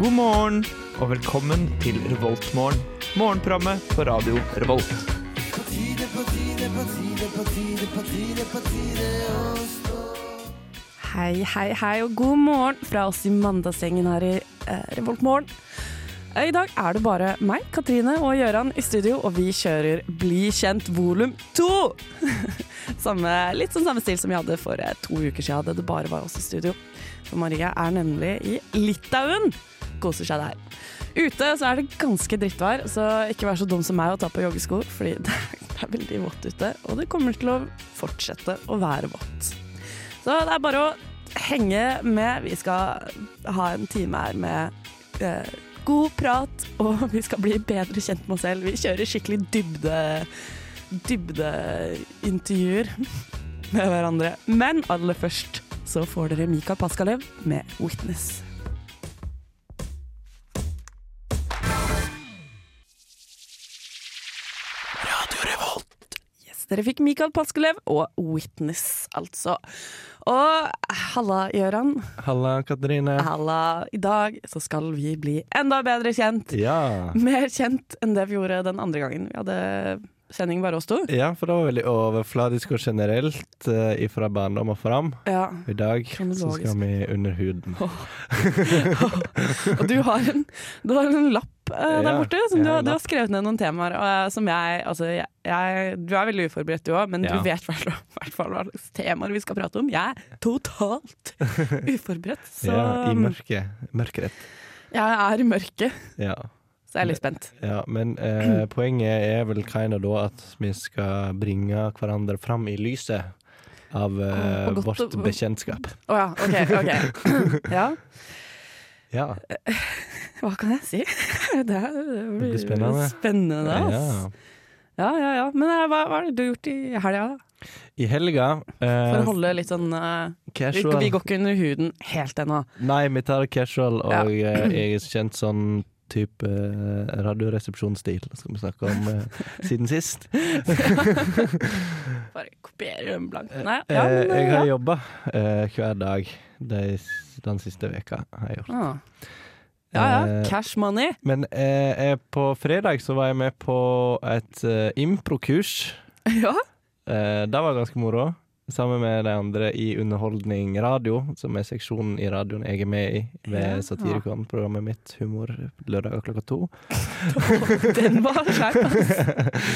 God morgen og velkommen til Revoltmorgen. Morgenprogrammet på radio Revolt. Hei, hei, hei, og god morgen fra oss i mandagsgjengen her i eh, Revoltmorgen. Eh, I dag er det bare meg, Katrine og Gøran i studio, og vi kjører Bli kjent volum to! samme, litt sånn samme stil som vi hadde for eh, to uker siden, da det bare var oss i studio. For Maria er nemlig i Litauen. Koser seg der. Ute så er det ganske drittvær, så ikke vær så dum som meg og ta på joggesko, fordi det er, det er veldig vått ute, og det kommer til å fortsette å være vått. Så det er bare å henge med. Vi skal ha en time her med eh, god prat, og vi skal bli bedre kjent med oss selv. Vi kjører skikkelig dybde dybdeintervjuer med hverandre. Men aller først så får dere Mika Paskalev med 'Witness'. Yes, dere fikk Mikael Paskelev og Witness, altså. Og halla, Gøran. Halla, Katrine. Halla. I dag så skal vi bli enda bedre kjent. Ja. Mer kjent enn det vi gjorde den andre gangen vi hadde sending bare oss to. ja, for det var veldig overfladisk og generelt eh, ifra barndom og fram. Ja. I dag så Kronologisk. skal vi under huden. Og du har en, du har en lapp eh, der Ja, borte som jeg du, har har- en du har lapp. skrevet ned noen temaer. eh, som jeg, altså, jeg, jeg, du er veldig uforberedt du òg, men Ja. du vet i hvert fall- i hvert fall hva slags temaer vi skal prate om. Jeg er totalt uforberedt, så Ja, I mørket. Mørkerett. jeg er i mørket. Ja. Så jeg er litt spent. ja men eh, poenget er vel kinda da at vi skal bringe hverandre fram i lyset av eh, Og- og godt vårt å- bekjentskap. Å ja, OK. ok Ja, Ja. hva kan jeg si? Det, er, blir spennende. spennende ass. ja. Ja, ja, ja. Men eh, hva, hva har du har gjort i helga, da? I helga eh, For å holde litt sånn eh, vi, casual vi går ikke under huden helt ennå. Nei, vi tar casual, og Ja. eh, jeg er kjent sånn type eh, radioresepsjonsstil, skal vi snakke om eh, siden sist. Bare kopiere den blankt. Nei, Eh, ja, men, jeg eh, har ja. jobba eh, hver dag de, s- den siste veka har jeg gjort. Ah. Ja, ja. Eh, Cash money. Men eh, eh, på fredag så var jeg med på et eh, improkurs. Ja. Eh, det var ganske moro. Sammen med de andre i Underholdning radio, som er seksjonen i radioen jeg er med i Ja. ved Satirikon-programmet mitt Humor lørdag klokka to. Den var skjerp. ass.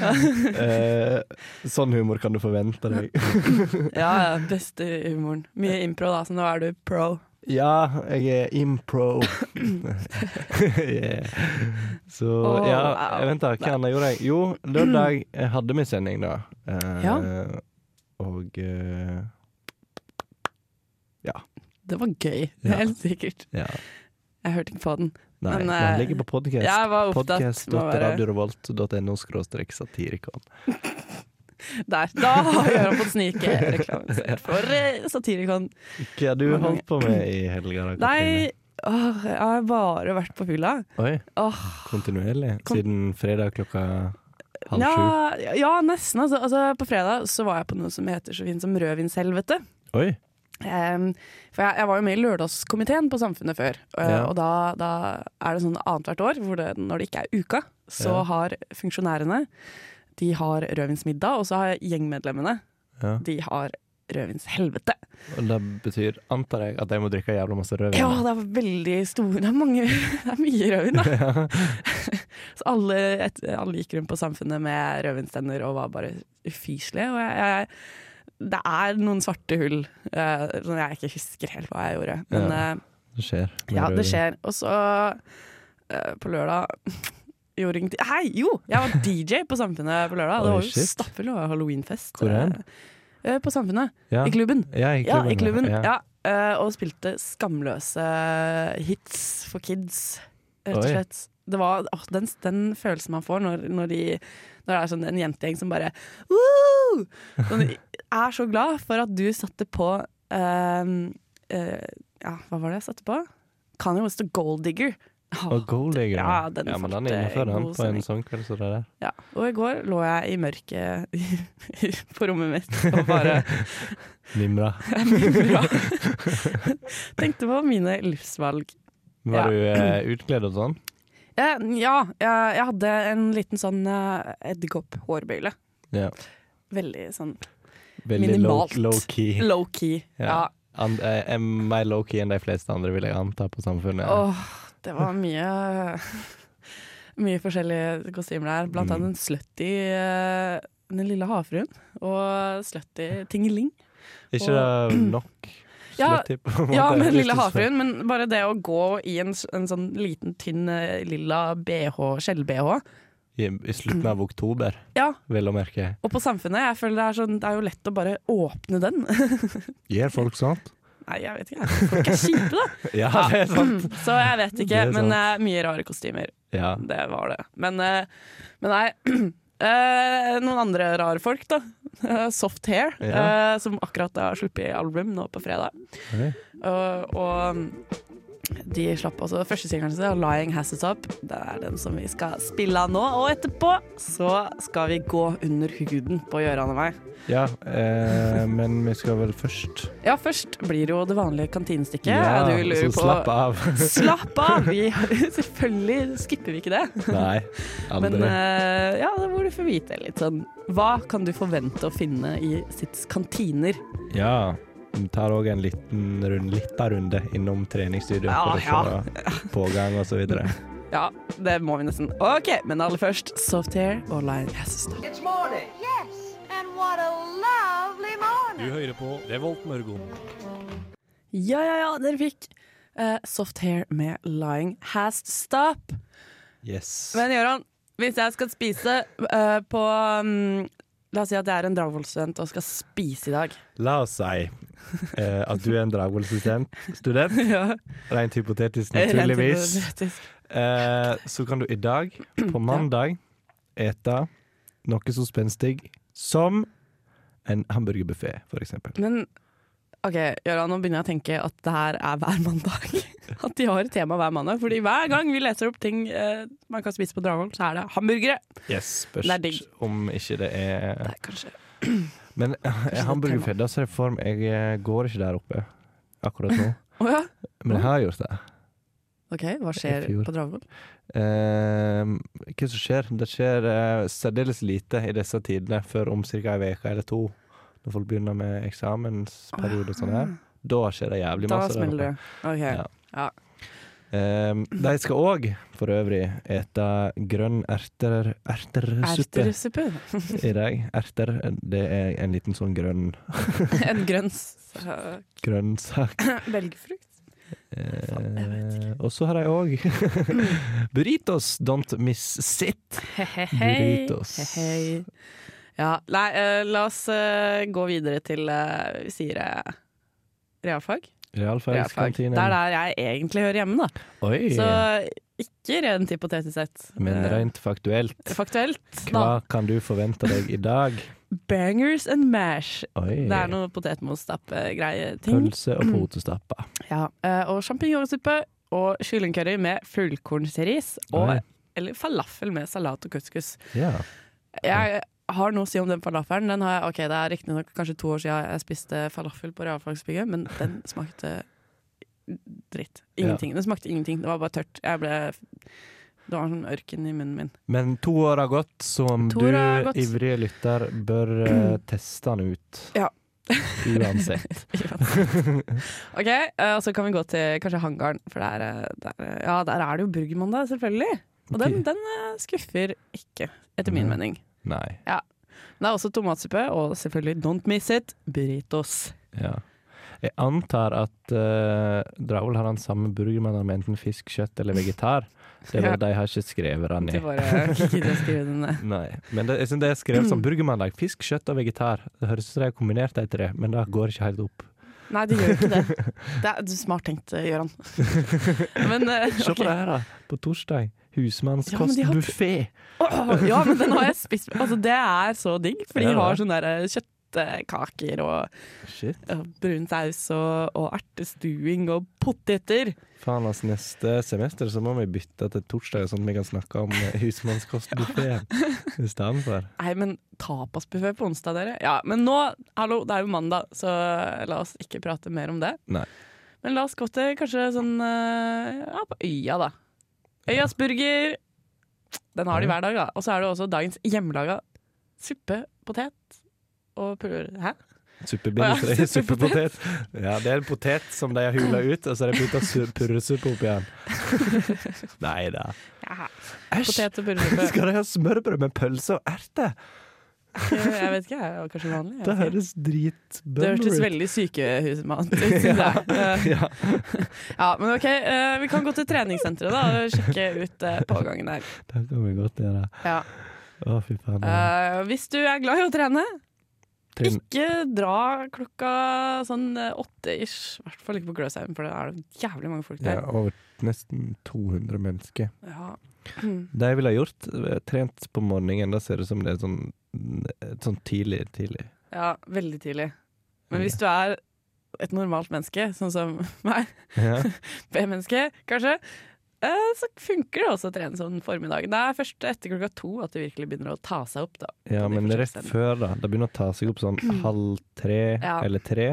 Eh, sånn humor kan du forvente deg. Ja, ja. Beste humoren. Mye impro, da, så nå er du pro. Ja, jeg er impro. yeah. Så Åh, ja, wow. vent da, hva annet gjorde jeg? Jo, lørdag eh, hadde vi sending da. Eh, Ja. Og eh, Det var gøy. Ja. Helt sikkert. ja. Jeg hørte ikke på den. Nei, Men, den eh, ligger på podcast. Jeg var opptatt med å være Podcast.radiorevolt.no skråstrek satirikon. der. Da har Gøran fått snike reklame for eh, Satirikon. Hva har du holdt på med i helga? da, Katrine? Nei, åh, jeg har bare vært på fylla. Oi, Åh, kontinuerlig? Kon- Siden fredag klokka halv sju? ja, ja, nesten. Altså. altså, på fredag så var jeg på noe som heter så fint som rødvinshelvete. Oi, Em, for jeg, jeg var jo med i lørdagskomiteen på Samfunnet før. eh, Ja. Og da, da er det sånn annethvert år, hvor det, når det ikke er uka, så Ja. har funksjonærene De har rødvinsmiddag, og så har gjengmedlemmene ja. De har rødvinshelvete. Og det betyr, antar jeg, at de må drikke jævla masse rødvin. Ja, det er veldig store Det er, mange, det er mye rødvin, da. Så alle, et, alle gikk rundt på Samfunnet med rødvinstenner og var bare ufyselige. Og jeg, jeg, det er noen svarte hull eh, som jeg ikke husker helt hva jeg gjorde. Men Ja. eh, Det skjer. med Ja, det rødvin. skjer. Og så eh, på lørdag gjorde ingenting Hei, jo! Jeg var DJ på Samfunnet på lørdag. Det Oi, var jo shit. stappfull og halloweenfest. Hvor hen? Eh, På Samfunnet. Ja. I klubben. Ja, i Ja, i klubben. ja. Ja. eh, og spilte skamløse hits for kids, rett og Oi. slett. Det var, åh, den, den følelsen man får når, når, de, når det er sånn en jentegjeng som bare Woo! Sånn, er så glad for at du satte på eh, eh, Ja, hva var det jeg satte på? Kanye West og Gold Digger. Åh, Og Gold Digger. Ja, den ja, men den falt, er eh, innenfor den god på en sending. sånn kveld som det der. ja. Og i går lå jeg i mørket på rommet mitt og bare Mimra. Bra. Tenkte på mine livsvalg. Var du eh, utkledd og sånn? Eh, ja, jeg, jeg hadde en liten sånn eh, edderkopp-hårbøyle. Ja. Veldig sånn Veldig low- Minimalt. low-key. low-key. Ja. Ja. And, eh, em- mer low-key enn de fleste andre, vil jeg anta, på samfunnet. Åh, det var mye Mye forskjellige kostymer der. Blant annet en slutty eh, Den lille havfruen og slutty Tingeling. Ikke det nok? Ja, slutty, på en Ja, måte? med lille havfruen, men bare det å gå i en, s- en sånn liten, tynn eh, lilla BH, skjell-BH. I, I slutten av oktober, Ja, vel å merke. og på Samfunnet. Jeg føler det er, sånn, det er jo lett å bare åpne den. Gjør folk sånt? Nei, jeg vet ikke. Folk er kjipe, da. Ja, Ja. det er sant. Så jeg vet Det ikke, er men eh, mye rare kostymer. Ja. Det var det. Men, eh, men nei. eh, noen andre rare folk, da. Eh, soft Hair, Ja. eh, som akkurat har sluppet album nå på fredag. Eh, Oi. Og, og de slapp også førstesingelen sin, 'Lying Has It Up'. Det er den som vi skal spille av nå. Og etterpå så skal vi gå under huden på Gøran og meg. ja eh, men vi skal vel først Ja, først blir det jo det vanlige kantinestykket. Ja, du lurer så på slapp av. Slapp av! Vi, selvfølgelig skipper vi ikke det. Nei, aldri. Men eh, ja, da må du få vite litt sånn Hva kan du forvente å finne i Sits kantiner? Ja. Vi tar òg en liten runde, liten runde innom treningsstudio Ja, for å se pågang og så videre. Ja, det må vi nesten. OK, men aller først Soft Hair og Lion Yes. It's morning. Yes, and what a lovely morning. hører på Revolt Mørgon. Ja, ja, ja, dere fikk eh, Soft Hair med Lying Has to Stop. Yes. Men Gøran, hvis jeg skal spise eh, på mm, La oss si at jeg er en Dragvoll-student og skal spise i dag. La oss si eh, at du er en Dragvoll-student, Ja, rent hypotetisk naturligvis. Eh, så kan du i dag, på mandag, ete noe så spenstig som en hamburgerbuffé, for eksempel. Men OK, Gøran, nå begynner jeg å tenke at det her er hver mandag. At de har et tema hver mandag. Fordi hver gang vi leser opp ting eh, man kan spise på Dragvoll, så er det hamburgere. Yes, spørs Det er digg. om ikke det er Det er kanskje Men eh, hamburgerbuffé, da ser jeg for meg Jeg eh, går ikke der oppe akkurat nå, Å ja. men jeg har gjort det. OK, hva skjer fjor. på Dragvoll? Eh, hva som skjer? Det skjer eh, særdeles lite i disse tidene før om ca. ei uke eller to. Når folk begynner med eksamensperiode og sånn her. Da skjer det jævlig Da masse. der oppe. smeller du. OK. Ja. Eh, de skal òg for øvrig ete grønn erter, ertersuppe Ertesuppe. i dag. Erter, det er en liten sånn grønn en grønn sak. grønnsak. Belgfrukt. Eh, og så har de òg burritos, don't miss it. Hei, Burritos. Hei. Ja, nei, eh, la oss eh, gå videre til eh, Vi sier eh, realfag. Realfag. Det Realfagskantinen. er der jeg egentlig hører hjemme, da. Oi. Så ikke rent hypotetisk sett. Men Eh, rent faktuelt, faktuelt, da. hva kan du forvente deg i dag? Bangers and mash. Oi. Det er Mm. noe potetmos-stapp-greie-ting. Pølse og potestappa. Ja, eh, og sjampinjongsuppe og kyllingcurry med fullkornsris. Og, Oi. eller falafel med salat og couscous. Ja. Jeg har noe å si om den falafelen. Den har jeg, ok, Det er riktignok kanskje to år siden jeg spiste falafel på realfagsbygget, men den smakte dritt. Ingenting. Den smakte ingenting. Det var bare tørt. Jeg ble Det var sånn ørken i munnen min. Men to år har gått, så om To du, år har gått. ivrige lytter, bør eh, teste den ut. Ja. Uansett. OK, eh, og så kan vi gå til kanskje hangaren, for der, eh, der, eh, ja, der er det jo burgermandag, selvfølgelig. Og den, Ok. den eh, skuffer ikke, etter min Nei. mening. Nei. Det er også tomatsuppe, og selvfølgelig don't miss it, burritos. Ja. Jeg antar at uh, Draul har den samme burgermannen med enten fisk, kjøtt eller vegetar. Det er Ja. bare de har ikke skrevet den Til ned. bare gidde å skrive den ned. Nei. Men det, jeg synes det er skrevet som burgermandag. Fisk, kjøtt og vegetar. Det høres ut som de har kombinert de tre, men det går ikke helt opp. Nei, det gjør ikke det. Det er smart tenkt, eh, Gøran. Men, eh, Se på ok. det her, da. På torsdag. Ja, men de har- Husmannskostbuffé. Åh, ja, men den har jeg spist. Altså, det er så digg, for Ja, de det er har det. sånne der eh, kjøttkaker og Shit. eh, brun saus og, og ertestuing og poteter. Faen, altså, neste semester så må vi bytte til torsdag, sånn at vi kan snakke om eh, husmannskostbuffeen i stedet for. Nei, men tapasbuffé på onsdag, dere. Ja, men nå, hallo, det er jo mandag, så la oss ikke prate mer om det. Nei. Men la oss gå til kanskje sånn eh, ja, på Øya, da. Øyas burger. Den har de hver dag, da. Og så er det også dagens hjemmelaga suppe, potet og pulver. Hæ? Å, Suppebillig ja, suppepotet. Ja, det er en potet som de har hula ut, og så har de putta purresuppe oppi den. Nei da. Ja. Æsj! Potet og pulversuppe. Skal de ha smørbrød med pølse og erter? Jeg vet ikke, jeg er kanskje vanlig. jeg Det vet ikke. høres Det dritbømmer hørtes ut. veldig sykehusmann ut. synes jeg. Eh, Ja. Ja, men ok, eh, vi kan gå til treningssenteret da og sjekke ut eh, pågangen der. Det kan vi godt gjøre. Ja. Å, fy faen. Eh, hvis du er glad i å trene, Trinn. ikke dra klokka sånn eh, åtte-ish. I hvert fall ikke på Gløshaugen, for det er det jævlig mange folk Ja, der. over nesten 200 mennesker. Ja. Det jeg ville ha gjort, eh, trent på morgenen, da ser det ut som det er sånn, eh, sånn tidlig, tidlig. ja, veldig tidlig. Men hvis du er et normalt menneske, sånn som meg, Ja. B-menneske kanskje, eh, så funker det også å trene sånn formiddagen. Det er først etter klokka to at det virkelig begynner å ta seg opp, da. Ja, på de men rett forsøksstedene. før da Det begynner å ta seg opp sånn halv tre Mm. Ja. eller tre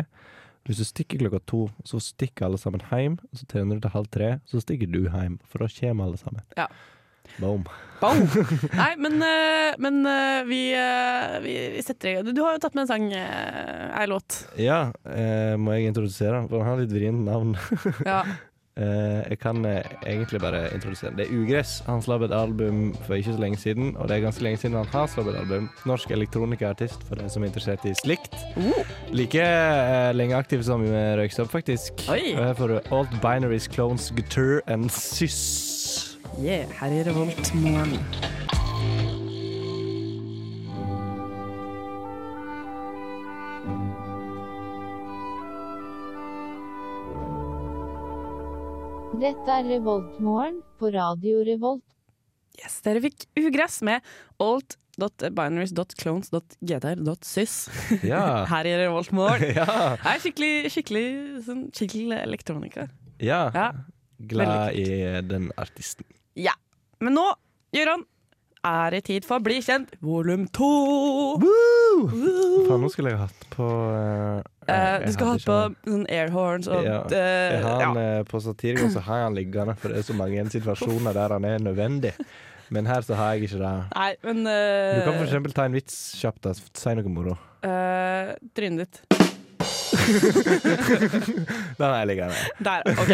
Hvis du stikker klokka to Så stikker alle sammen hjem Så trener du til halv tre Så stikker du hjem For da kommer alle sammen Ja. Boom Boom! Nei, men, eh, men eh, vi, eh, vi, vi setter i gang. Du, du har jo tatt med en sang, eh, ei låt. Ja, eh, må jeg introdusere den? For den har litt vrient navn Ja. eh, Jeg kan eh, egentlig bare introdusere den Det er Ugress Han slapp et album for ikke så lenge siden Og det er ganske lenge siden han har slapp et album Norsk elektronikaartist For dere som er interessert i slikt Oh, Like eh, lenge aktiv som eh, Røyksopp, faktisk. Oi. Og her får du Alt Binaries, Clones, Guitar and Sys. yeah, her i Revolt morgen. Dette er Revoltmorgen på Radio Revolt. Yes, dere fikk ugress med alt.binaries.clones.gdr.sys Ja. her i Revolt morgen. ja. Nei, skikkelig, skikkelig sånn chill elektronika. ja. Ja. Glad veldig i eh, den artisten. ja. Men nå, Gøran, er det tid for Bli kjent volum to. Faen, nå skulle jeg hatt på eh, Eh, jeg du skal ha hadde på ikke- sånn airhorns og Ja. eh, Jeg har ja. han eh, på satiriker, så har jeg han liggende, for det er så mange situasjoner der han er nødvendig. Men her så har jeg ikke det. Nei, men Du eh, kan for eksempel ta en vits kjapt. da. Si noe moro. eh, Trynet ditt. Den har jeg liggende. Der, OK.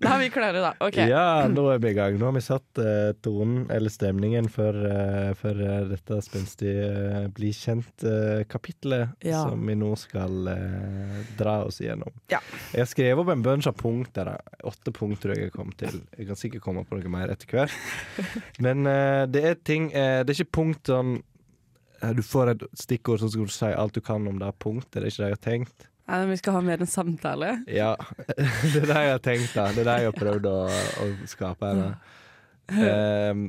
Da er vi klare, da. Ok. Ja, nå er vi i gang. Nå har vi satt eh, tonen, eller stemningen, for, eh, for eh, dette spenstige eh, Bli kjent-kapitlet Ja. som vi nå skal eh, dra oss gjennom. Ja. Jeg har skrevet opp en bunch av punkter. Da. Åtte punkt tror jeg jeg kom til. Jeg kan sikkert komme på noe mer etter hvert. Men eh, det er ting eh, Det er ikke punkt sånn eh, du får et stikkord som skal du si alt du kan om det punktet. Det er ikke det jeg har tenkt. Nei, men vi skal ha mer enn samtale. Ja, det er det jeg har tenkt da Det er det jeg har prøvd å, å skape her da. Ehm,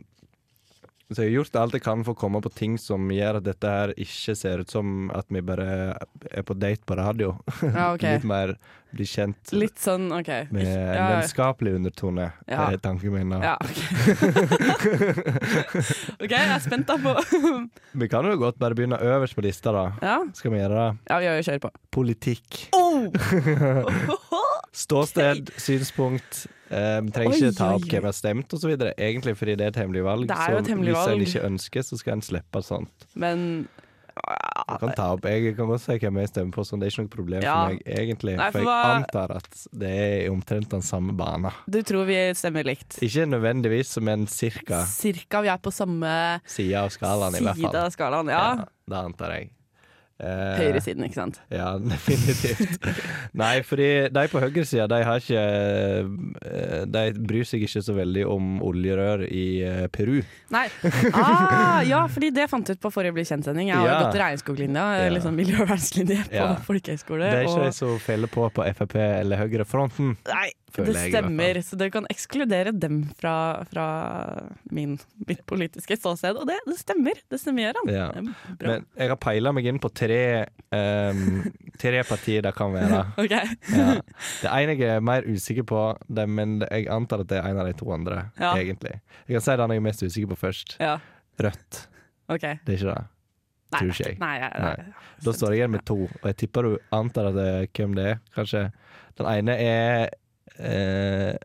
Så jeg har gjort alt jeg kan for å komme på ting som gjør at dette her ikke ser ut som at vi bare er på date på radio Ja, ok. Litt mer bli kjent Litt sånn OK. med en ja, ja. vennskapelig undertone Ja. Det er tanken min da Ja, OK. OK, jeg er spent da på Vi kan jo godt bare begynne øverst på lista da Ja, Skal vi gjøre det? ja, ja kjør på. Politikk Oh! Ståsted, synspunkt eh, Vi trenger Oi, ikke ta opp oi, oi. hvem som har stemt og så videre Egentlig fordi det er et hemmelig valg Det er jo et så hemmelig Hvis en valg. ikke ønsker, så skal en slippe sånt Men Jeg kan ta opp, jeg kan godt si hvem jeg stemmer på sånn. Det er ikke noe problem Ja. for meg egentlig Nei, for For jeg hva- antar at det er omtrent den samme bana du tror vi stemmer likt? Ikke nødvendigvis, men cirka Cirka. Vi er på samme Sida av skalaen i hvert side fall av skalaen. Ja. Det antar jeg Eh, Høyresiden, ikke sant. Ja, definitivt. Nei, fordi de på høyresida, de har ikke eh, De bryr seg ikke så veldig om oljerør i eh, Peru. Nei. Ah, ja, fordi det fant jeg ut på forrige Bli kjent-sending. Jeg har Ja. jo gått regnskoglinja, eller Ja. sånn miljøvernlinje, på Ja. folkehøyskole. Det er ikke og- de som feller på på Frp eller høyrefronten. Nei, føler det jeg i hvert stemmer. Så dere kan ekskludere dem fra, fra min, mitt politiske ståsted. Og det, det stemmer. Det stemmer, Gøran. Ja. Det er Bra. Men jeg har peila meg inn på tre ehm, Tre partier det kan være. OK. Ja. Det ene jeg er mer usikker på, det, men jeg antar at det er en av de to andre. Ja. Egentlig Jeg kan si den jeg er mest usikker på først. Ja. Rødt. ok. Det er ikke det. Nei, Tror nei, ikke jeg. nei, jeg- Nei. jeg- Da står jeg igjen med to, og jeg tipper du antar at det er hvem det er. Kanskje Den ene er eh,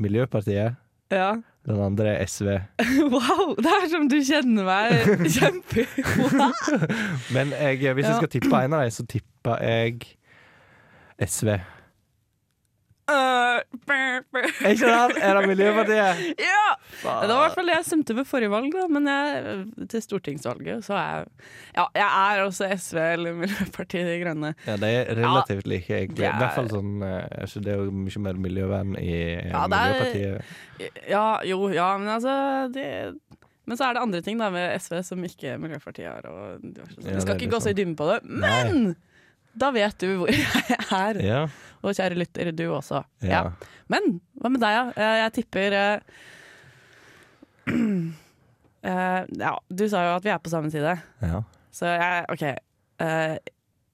Miljøpartiet, Ja. den andre er SV. Wow, det er som du kjenner meg kjempe... Wow. Men jeg, hvis jeg Ja. skal tippe en av dem, så tipper jeg SV. Eh, brr, brr. Er ikke det han? Er det Miljøpartiet? Ja! Det var i hvert Faen. fall det jeg stemte ved forrige valg, da, men jeg, til stortingsvalget så er jeg Ja, jeg er også SV eller Miljøpartiet De Grønne. Ja, de er relativt like, egentlig. I det er- hvert fall sånn eh, altså, Det er jo mye mer miljøvern i eh, Ja, det er- Miljøpartiet. Ja, jo, ja, men altså det men så er det andre ting da med SV som ikke Miljøpartiet har. Og diverse sånt. Ja, det Vi skal er sånn. ikke gå så i dybden på det, men da vet du hvor jeg er. Ja. Og kjære lytter, du også. Ja. Ja. Men hva med deg, da? Eh, Jeg tipper eh, eh, Ja, du sa jo at vi er på samme side, ja. så jeg OK. eh,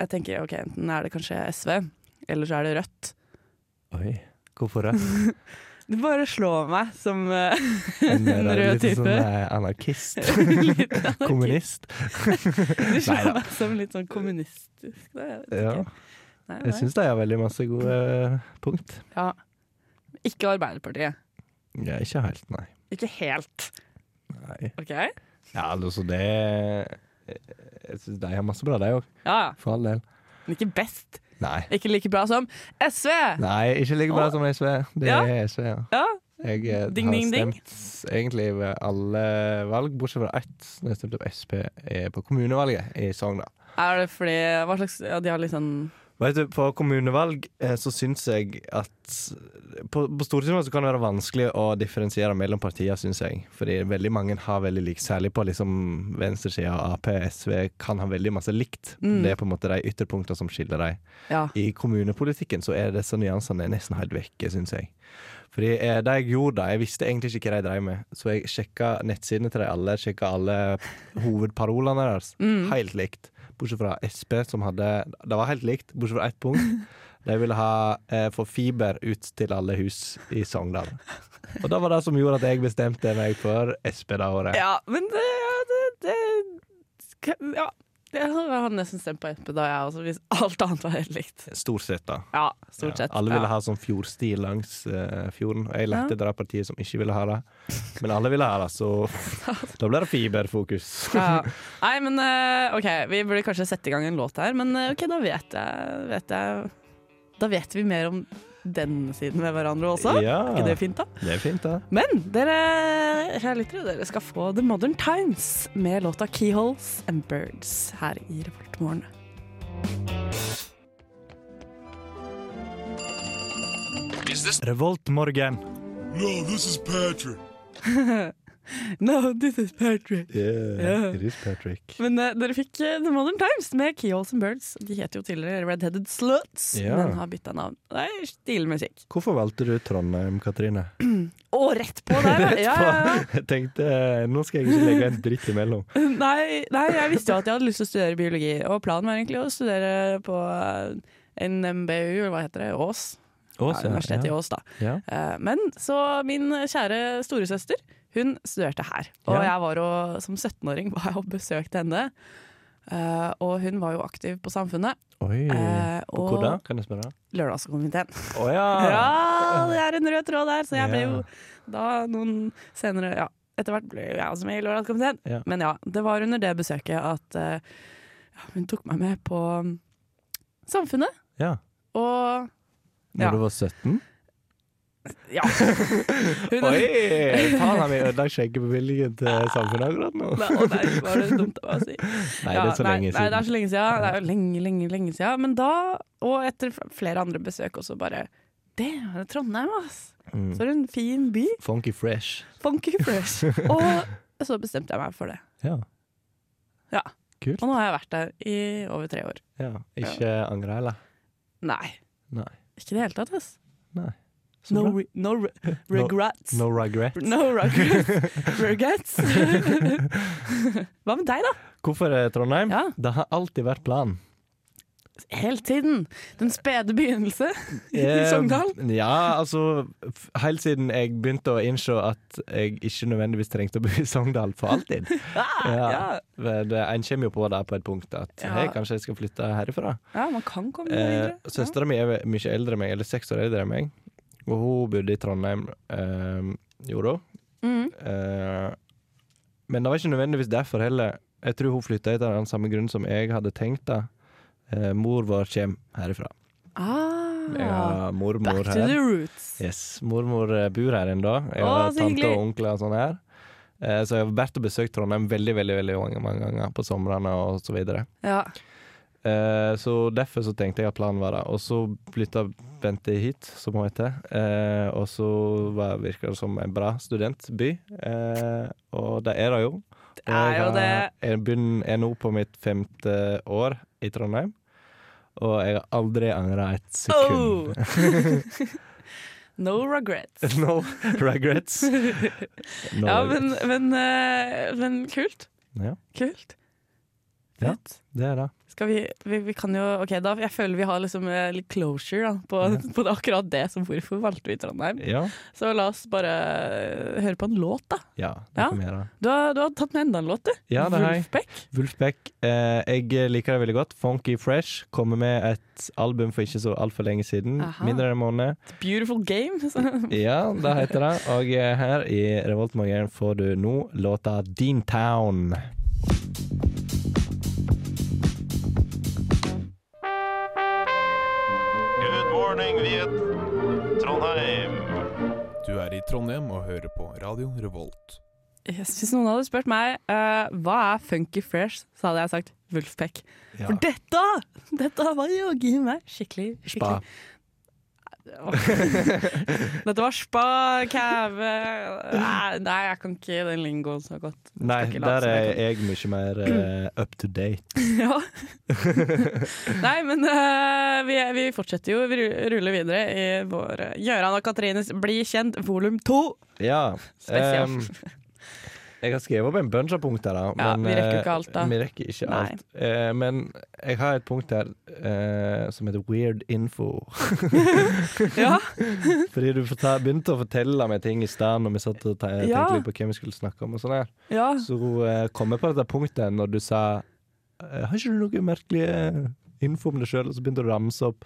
jeg tenker OK, enten er det kanskje SV, eller så er det Rødt. Oi. Hvorfor det? Det bare slår meg som eh, En En mer rød litt type. sånn eh, anarkist. litt Kommunist. Det slår Neida. meg som litt sånn kommunistisk. Det, jeg vet Ja. ikke. Nei, Jeg nei. syns de har veldig masse gode eh, punkt. Ja. Ikke Arbeiderpartiet. Ja, ikke helt, nei. Ikke helt, nei. OK? Ja, Ja, altså det eh, Jeg syns de har masse bra, de òg. ja. For all del. Men ikke best. Nei. Ikke like bra som SV! Nei, ikke like bra som SV. Det Ja. er SV, ja. Ja. Jeg eh, Ding, har ding, ding. stemt egentlig ved alle valg, bortsett fra ett, når jeg stemte på Sp eh, på kommunevalget i Sogn. da. Er det fordi Hva slags Ja, de har litt sånn Vet du, På kommunevalg eh, så syns jeg at På, på stortingsvalg så kan det være vanskelig å differensiere mellom partier, syns jeg. Fordi veldig mange har veldig likt, særlig på liksom venstresida, Ap, SV, kan ha veldig masse likt. Mm. Det er på en måte de ytterpunktene som skiller dem. Ja. I kommunepolitikken så er disse nyansene nesten helt vekke, syns jeg. Fordi eh, det jeg gjorde da, jeg visste egentlig ikke hva de drev med, så jeg sjekka nettsidene til de alle, sjekka alle hovedparolene deres. Helt likt. Bortsett fra SP, som hadde Det var helt likt, bortsett fra ett punkt. De ville ha eh, få fiber ut til alle hus i Sogndal. Og det var det som gjorde at jeg bestemte meg for SP det året. Ja, men det, ja, det, det Ja. Jeg hadde nesten stemt på Espe da, jeg også, hvis alt annet var helt likt. Stort sett, da. Ja, stort sett. Ja, alle ville ja. ha sånn fjordsti langs eh, fjorden. Og jeg lette etter det partiet som ikke ville ha det. Men alle ville ha det, så da ble det fiberfokus. Ja. Nei, men eh, OK, vi burde kanskje sette i gang en låt her, men eh, OK, da vet jeg, vet jeg Da vet vi mer om denne siden ved hverandre også. Ja. Er ikke det fint, da? Det er fint, da. Men dere, kjære lyttere, dere skal få The Modern Times med låta 'Keyholes and Birds' her i Revoltmorgen. Revoltmorgen. No, this is Patrick. Yeah, it is Patrick. Men eh, dere fikk eh, The Modern Times med Keyholes and Birds. De het jo tidligere Redheaded Sluts, Ja. men har bytta navn. Det er stilig musikk. Hvorfor valgte du Trondheim, Katrine? Å, rett på der! ja. ja, ja, ja. Jeg tenkte eh, nå skal jeg ikke legge en dritt imellom. Nei, nei, jeg visste jo at jeg hadde lyst til å studere biologi, og planen var egentlig å studere på eh, NMBU, eller hva heter det, Ås. Ja, Universitetet i Ås, da. Ja. Eh, Men så min kjære storesøster, hun studerte her. Og Ja. jeg var og, som 17-åring var jeg og besøkte henne. Eh, og hun var jo aktiv på Samfunnet. Oi. Eh, På og hvor da, kan jeg spørre? Lørdagskomiteen. Å ja. Ja, det er en rød tråd der! Så jeg ble jo Ja. da noen senere Ja, etter hvert ble jo jeg også med i Lørdagskomiteen. Ja. Men ja, det var under det besøket at eh, ja, hun tok meg med på mm, Samfunnet. Ja. Og Når Ja. du var 17? ja. Hun, Oi! Faen, har vi ødelagt skjeggebevilgningen til samfunnet akkurat nå? Nei, å nei, var det dumt av meg å si. Nei, det er så Ja, lenge Nei, det er siden. så lenge siden. Det er jo lenge, lenge, lenge siden. Men da, og etter f- flere andre besøk også, bare Det er Trondheim, ass! Mm. For en fin by. Funky fresh. Funky fresh. og så bestemte jeg meg for det. Ja. Ja. Kult. Og nå har jeg vært der i over tre år. ja. Ikke angre, eller? Nei, Nei. ikke i det hele tatt, ass. Nei. Så No, bra. re no re regrets. no regret. No regrets. regrets. Hva med deg, da? Hvorfor eh, Trondheim? Ja. Det har alltid vært planen. helt siden den spede begynnelse i Sogndal. Eh, Ja, altså f- Helt siden jeg begynte å innse at jeg ikke nødvendigvis trengte å bo i Sogndal for alltid. Ah, ja. Vel, det- En kommer jo på det på et punkt at Ja. hei, kanskje jeg skal flytte herifra. Ja, man kan komme Eh, videre. Ja. Søstera mi er mye eldre enn meg, eller seks år eldre enn meg, og hun bodde i Trondheim, eh, gjorde hun. Mhm. Eh, men det var ikke nødvendigvis derfor heller. Jeg tror hun flytta etter den samme grunn som jeg hadde tenkt. da. Eh, mor vår kommer herifra. Jeg Ah, har back mormor to the her. roots. Yes, Mormor eh, bor her ennå. Jeg Å, har så tante hyggelig. og onkler og sånn her. Eh, så jeg har vært og besøkt Trondheim veldig veldig, veldig mange, mange ganger på somrene og så videre. Ja. Eh, så derfor så tenkte jeg at planen var det. Og så flytta Bente hit, som hun heter. Eh, og så var- virka det som en bra studentby. Eh, og det er det jo. Det er jo Og det. Jeg, har- jeg begynner, er nå på mitt femte år i Trondheim, og jeg har aldri angra et sekund. Oh. no regrets. No regrets. No Ja, regrets. men, men, eh, men kult. Ja, Kult. Ja. Fett. det er det. Skal vi, vi, vi kan jo Ok, da jeg føler vi har liksom eh, litt closure da, på, på det, akkurat det. Så hvorfor valgte vi Trondheim? Ja, Så la oss bare eh, høre på en låt, da. ja det Ja. kan vi gjøre. Du har, du har tatt med enda en låt, du. Ja, det har jeg. Wolfpack. Wolfpack. Eh, jeg liker det veldig godt. Funky Fresh kommer med et album for ikke så altfor lenge siden. Aha. Mindre enn en måned. It's a Beautiful game. Så- Ja, det heter det. Og eh, her i Revoltmorgen får du nå låta Dean Town. Good morning, Viet. Trondheim. Du er i Trondheim og hører på Radio Revolt. Yes, hvis noen hadde spurt meg eh, hva er funky fresh, så hadde jeg sagt Wolfpack. Ja. For dette Dette var jaggu meg skikkelig, skikkelig Spa. Dette var spa, kæve Nei, nei, jeg kan ikke den lingoen så godt. Nei, Skal ikke late der som er jeg jeg mye mer eh, up to date. Ja. nei, men eh, vi, vi fortsetter jo. Vi ru- ruller videre i vår eh, Gøran og Katrines Bli kjent volum to. Ja. Spesial. ehm, jeg har skrevet opp en bunch av punkter, da. Ja, vi rekker jo ikke alt, da. eh, Vi rekker ikke Nei. alt. Eh, men jeg har et punkt her eh, som heter weird info. Ja. Fordi du forta- begynte å fortelle meg ting i stad når vi satt og te tenkte Ja. litt på hvem vi skulle snakke om. og sånn her. ja. Så eh, kom jeg på dette punktet når du sa eh, Har ikke du noe merkelig eh, info om deg sjøl? Og så begynte du å ramse opp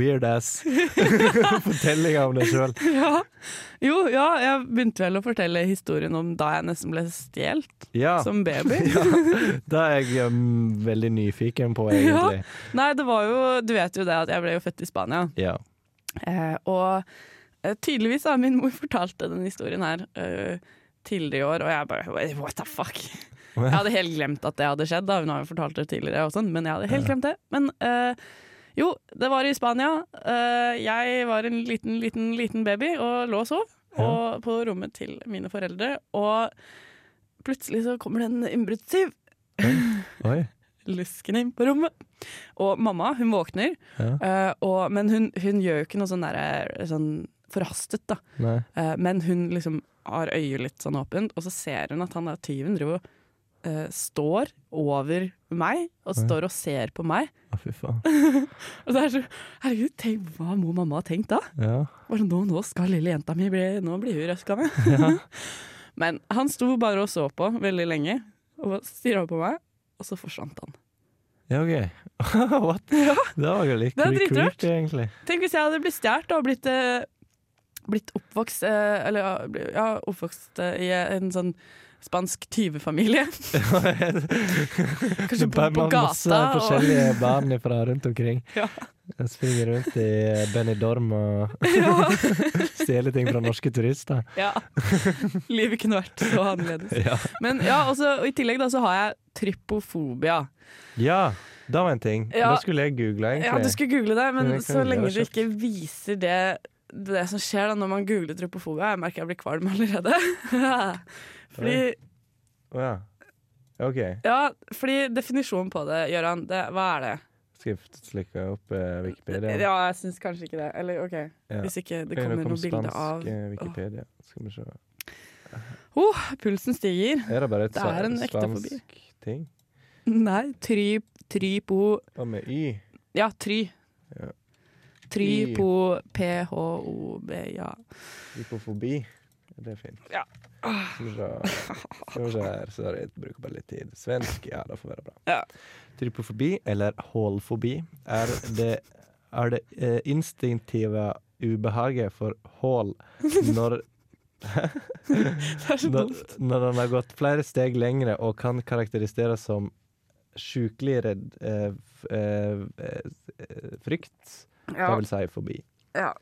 weird ass fortellinger om deg sjøl. ja. Jo, ja, jeg begynte vel å fortelle historien om da jeg nesten ble stjålet Ja. som baby. Ah. Ja, det er jeg um, veldig nyfiken på, egentlig. Nei, det var jo Du vet jo det at jeg ble jo født i Spania. Ja. Eh, og eh, tydeligvis har min mor fortalt denne historien her eh, tidligere i år, og jeg bare "Wait, What the fuck? Jeg hadde helt glemt at det hadde skjedd, da. hun har jo fortalt det tidligere, og sånn, men jeg hadde helt glemt det. Men eh, jo, det var i Spania. Eh, jeg var en liten, liten, liten baby og lå og sov og på rommet til mine foreldre, og plutselig så kommer det en innbruddstyv Oi. lusken inn på rommet. Og mamma, hun våkner, eh, og, men hun, hun gjør jo ikke noe sånn, derre- sånn forhastet, da. Nei. Eh, men hun liksom har øyet litt sånn åpent, og så ser hun at han der tyven driver og eh, står over meg, og står og ser på meg. Å, fy faen. Og så er det så, herregud, tenk, hva må mamma ha tenkt da? Ja. Bare nå, nå skal lille jenta mi bli, nå blir hun røska med. men han sto bare og så på veldig lenge, og stirra på meg, og så forsvant han. ja, OK. What? Det var jo litt Det er cre- dritrart. creepy, egentlig. Tenk hvis jeg hadde blitt stjålet og blitt, eh, blitt oppvokst eh, Eller ja, bli- ja, oppvokst eh, i en sånn spansk tyvefamilie. Kanskje på, Bare på med masse gata. Og, forskjellige barn fra rundt omkring. Ja. Jeg springer rundt i Benidorm og ja, stjeler ting fra norske turister. ja. Livet kunne vært så annerledes. Ja. Men ja, også, og i tillegg da, så har jeg trypofobia. ja, det var en ting. Ja. Da skulle jeg google, egentlig. Ja, du skulle google det, men Men jeg kan så google lenge det du ikke viser det det som skjer da når man googler trypofobia Jeg merker jeg blir kvalm allerede. Fordi Å, ja. OK. Ja, fordi definisjonen på det, Gøran, det, hva er det? Skal jeg slikke opp eh, Wikipedia? Ja, jeg syns kanskje ikke det. Eller OK, Ja. hvis ikke det Eller kommer kom noe bilde spansk, av eh, Wikipedia. Skal vi se. Oh, pulsen stiger. Er det bare et Det er en ekte spansk ting? Nei, tryp, trypo Og med Y? Ja, Try. Ja. Try Try. på PHOB, ja. Hypofobi. Det er fint. Ja. Bra. Skal vi se her, så jeg bruker bare litt tid. Svensk, ja, det får være bra. Ja. Trypofobi, eller hålfobi, er det, er det eh, instinktive ubehaget for hål når Det er så når, dumt. når han har gått flere steg lengre og kan karakteriseres som sjukelig redd eh, f- eh, eh, frykt, det Ja. vil si fobi. Ja.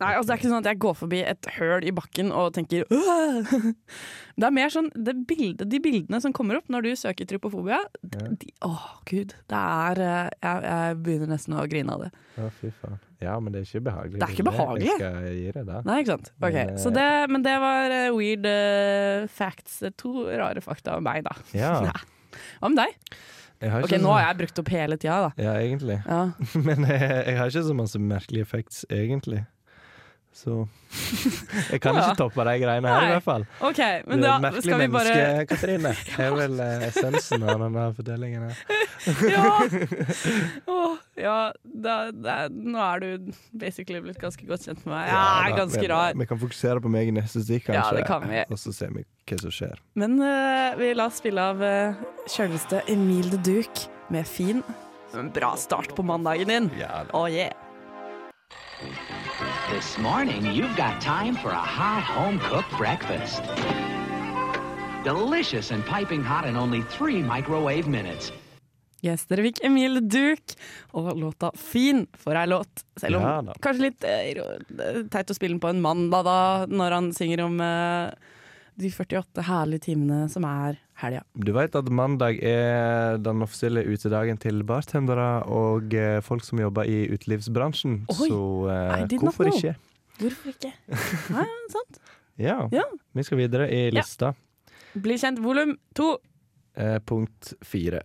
Nei, altså det er ikke sånn at jeg går forbi et høl i bakken og tenker «Åh!» Det er mer sånn det bildet, De bildene som kommer opp når du søker trypofobia Ja. de, Åh, gud. Det er eh, jeg, jeg begynner nesten å grine av det. Ja, fy faen. Ja, men det er ikke behagelig. Det er ikke behagelig. Jeg skal gi deg det. Nei, ikke sant? Ok, Men, eh, så det, Men det var eh, weird eh, facts. To rare fakta om meg, da. Ja. Hva med deg? Jeg har Ok, Nå har jeg brukt opp hele tida, da. Ja, egentlig. Ja. Men jeg, jeg har ikke så masse merkelige effects, egentlig. Så Jeg kan Å, ja. ikke toppe de greiene her, Nei. i hvert fall. OK, men du er da et merkelig skal vi bare menneske, Katrine. Det er vel eh, essensen av denne fortellingen her. Ja! Åh, ja da, da, nå er du basically blitt ganske godt kjent med meg. Ja, jeg da, er ganske men, rar. Vi kan fokusere på meg i neste stikk, kanskje. Ja, det kan vi. Og så ser vi hva som skjer. Men eh, vi la oss spille av uh, sjølveste Emil de Duke med Fin. En bra start på mandagen din. Oh yeah. This morning, you've got time for a hot home cooked breakfast. Delicious and piping hot in only three microwave minutes. Yes, dere fikk Emil de Duke og låta Fin for ei låt. Selv om Ja da. kanskje litt eh, ro- teit å spille den på en mandag, da, når han synger om eh, de 48 herlige timene som er helga. Du vet at mandag er den offisielle utedagen til bartendere og eh, folk som jobber i utelivsbransjen, Oi, så eh, I did not hvorfor know. ikke? Hvorfor ikke? Nei, sant? Ja. Ja. Vi skal videre i lista. Bli kjent volum to. Eh, punkt fire.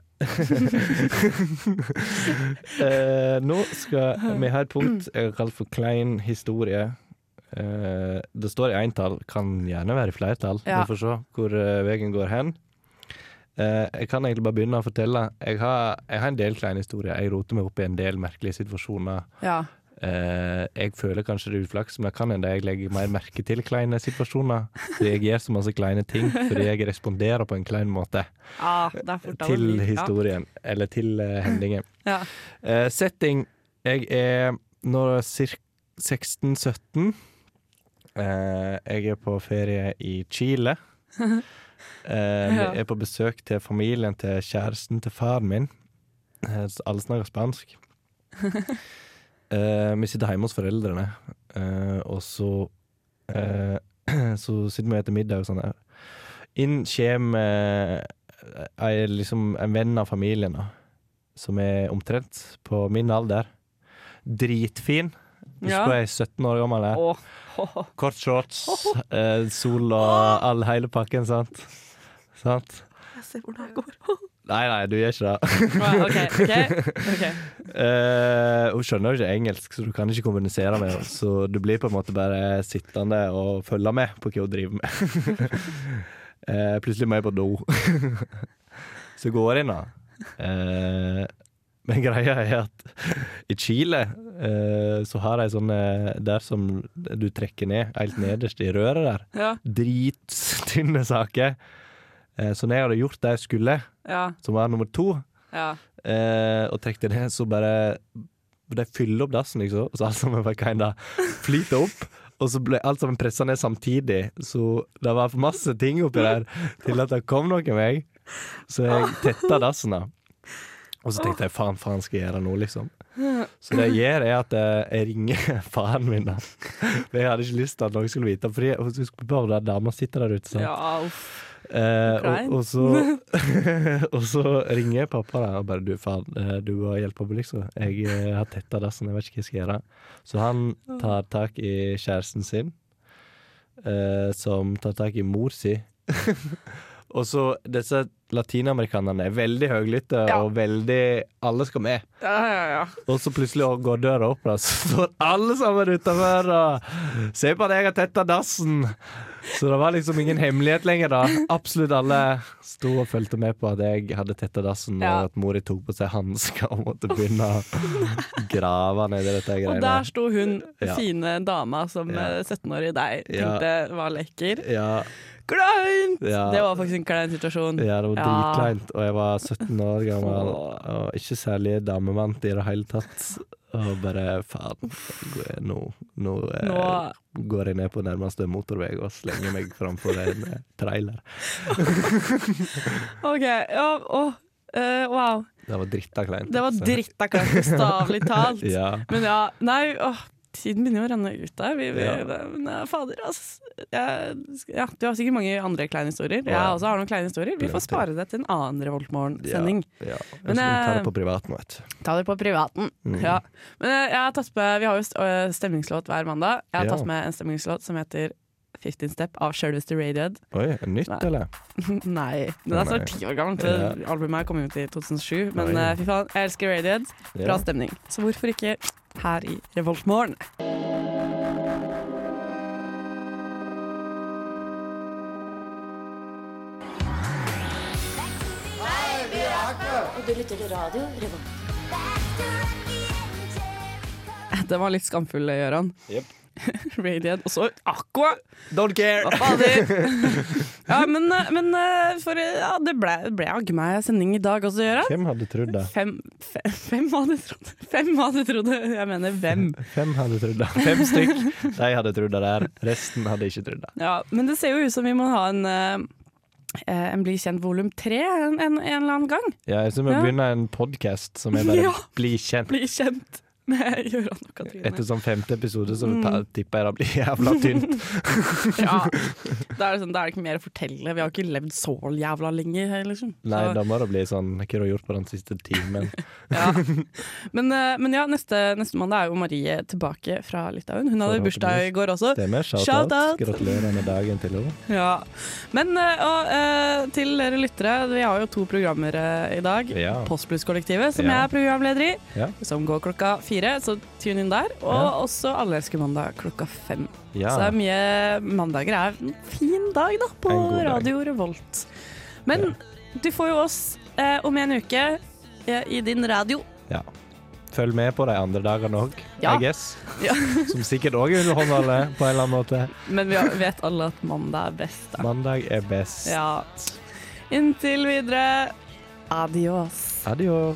eh, nå skal vi ha et punkt jeg har kalt for klein historie. Eh, det står i entall, kan gjerne være i flertall. Ja. Vi får se hvor eh, veien går hen. Eh, jeg kan egentlig bare begynne å fortelle. Jeg har, jeg har en del kleine historier. Jeg roter meg opp i en del merkelige situasjoner. Ja. Eh, jeg føler kanskje det er uflaks, men jeg kan hende jeg legger mer merke til kleine situasjoner. Fordi jeg gjør så masse kleine ting fordi jeg responderer på en klein måte Ah, det er fort av å til bli- historien, eller til eh, hendingen. Ja. Eh, setting Jeg er nå ca. 16-17. Eh, jeg er på ferie i Chile. Eh, Ja. Jeg er på besøk til familien til kjæresten til faren min. Eh, så alle snakker spansk. Eh, vi sitter hjemme hos foreldrene, eh, og så eh, Så sitter vi og spiser middag og sånn her. Inn kommer eh, ei- liksom en venn av familien, da, som er omtrent på min alder. Dritfin. Husk Ja. på jeg er 17 år gammel. Ja. Jeg. Åh, ho, ho. Kort shorts, eh, sol og all hele pakken, sant? Sant? Jeg ser hvordan det går. Nei, nei, du gjør ikke det. Nei, OK. ok, ok. Eh, hun skjønner jo ikke engelsk, så du kan ikke kommunisere med henne. Så du blir på en måte bare sittende og følge med på hva hun driver med. Eh, plutselig må jeg på do. så jeg går jeg inn, da. Eh, men greia er at i Chile eh, så har de sånne der som du trekker ned, helt nederst i røret der. Ja. Drittynne saker. Eh, så når jeg hadde gjort det jeg skulle, Ja. som var nummer to ja. eh, og trekk det ned, så bare De fyller opp dassen, liksom, og så alt sammen bare kinda flyter opp. Og så ble alt sammen pressa ned samtidig, så det var for masse ting oppi der til at det kom noen vei. Så jeg tetta dassen, da. Og så tenkte jeg faen, faen skal jeg gjøre nå, liksom. Så det jeg gjør, er at eh, jeg ringer faren min, da. For jeg hadde ikke lyst til at noen skulle vite Fordi husk på hvor den dama sitter der ute, sant. ja uff. Eh, Klein. og, og, så, og så ringer jeg pappa da, og bare du, faen, eh, du må hjelpe meg, liksom. Jeg eh, har tetta dassen, jeg vet ikke hva jeg skal gjøre. Så han tar tak i kjæresten sin, eh, som tar tak i mor si. og så disse latinamerikanerne er veldig høylytte Ja. og veldig Alle skal med. Ja, ja, ja. Og så plutselig går døra opp, da, så står alle sammen utafor og Se på at jeg har tetta dassen! Så det var liksom ingen hemmelighet lenger, da. Absolutt alle sto og fulgte med på at jeg hadde tetta dassen, Ja. og at mora tok på seg hansker og måtte begynne å grave nedi dette Og greiene. der sto hun Ja. fine dama som Ja. eh, 17-årig deg Ja. tenkte var lekker. Ja, Kleint! Ja. Det var faktisk en klein situasjon. ja, det var Ja. dritkleint, og jeg var 17 år gammel og ikke særlig damemann i det hele tatt. Og bare faen, nå, nå, eh, Nå går jeg ned på nærmeste motorvei og slenger meg framfor en eh, trailer. OK. Ja, å, eh, wow. Det var dritta kleint. Det var altså. dritta klart, bokstavelig talt. Ja. Men ja, nei, åh, tiden begynner jo å renne ut der. Vi, vi, Ja. men, eh, fader, ass. Jeg, ja, du har sikkert mange andre kleine historier. Jeg Ja. også har noen kleine historier. Vi Plenty. får spare det til en annen Revoltmorgen-sending. Ja, ja. Jeg Men, skal ta eh, det på privaten, vet du. Ta det på privaten. Mm. Ja. Men eh, jeg har tatt med, vi har jo st- øh, stemningslåt hver mandag. Jeg har Ja. tatt med en stemningslåt som heter 15 Step av sjølveste Radiohead. Oi, er det nytt, Nei. eller? Nei, den er snart ti år gammel. så Albumet her kom ut i 2007. Men Oi. eh, fy faen, jeg elsker Radiohead. Bra Ja. stemning. Så hvorfor ikke her i Revoltmorgen? Den var litt skamfull, eh, Gøran. Radiohead. Og så Aqua! Don't care! Hva fader? ja, men, eh, men eh, for, eh, ja, det ble, ble jaggu meg sending i dag også, Gøran. Hvem hadde trodd det? Fem, fe- fem hadde trodd Fem hadde trodd det. Jeg mener hvem. Fem hadde trodd det. Fem stykk. De hadde trodd det der. Resten hadde ikke trodd det. Ja, men det ser jo ut som vi må ha en, eh, en Bli kjent volum tre en, en, en eller annen gang. Ja, jeg synes vi Ja. begynner en podkast som er bare Ja. bli kjent. Bli kjent med Gøran og Katrine. Etter sånn femte episode Mm. så ta- tipper jeg det blir jævla tynt. Ja. Da er det sånn, da er det ikke mer å fortelle. Vi har ikke levd så jævla lenge. her, Liksom. Nei, Så- da må det bli sånn Hva har du gjort på den siste timen? Ja. Men, eh, men ja, neste, neste mandag er jo Marie tilbake fra Litauen. Hun hadde bursdag i går også. Det er med Shout shout-out. out. Gratulerer med dagen til henne. Ja. Men eh, og, eh, til dere lyttere, vi har jo to programmer eh, i dag. Ja. Postblues-kollektivet, som Ja. jeg er programleder i, Ja. som går klokka fire. Så tune inn der. Og Ja. også Alle elsker mandag klokka fem. Ja. Så det er mye Mandager er en fin dag da på En god dag. Radio Revolt. Men du får jo oss eh, om en uke eh, i din radio. Ja. Følg med på de andre dagene òg, Ja. I guess. Ja. Som sikkert òg er underholdende på en eller annen måte. Men vi vet alle at mandag er best. Da. Mandag er best. Ja. Inntil videre. Adios. Adjø.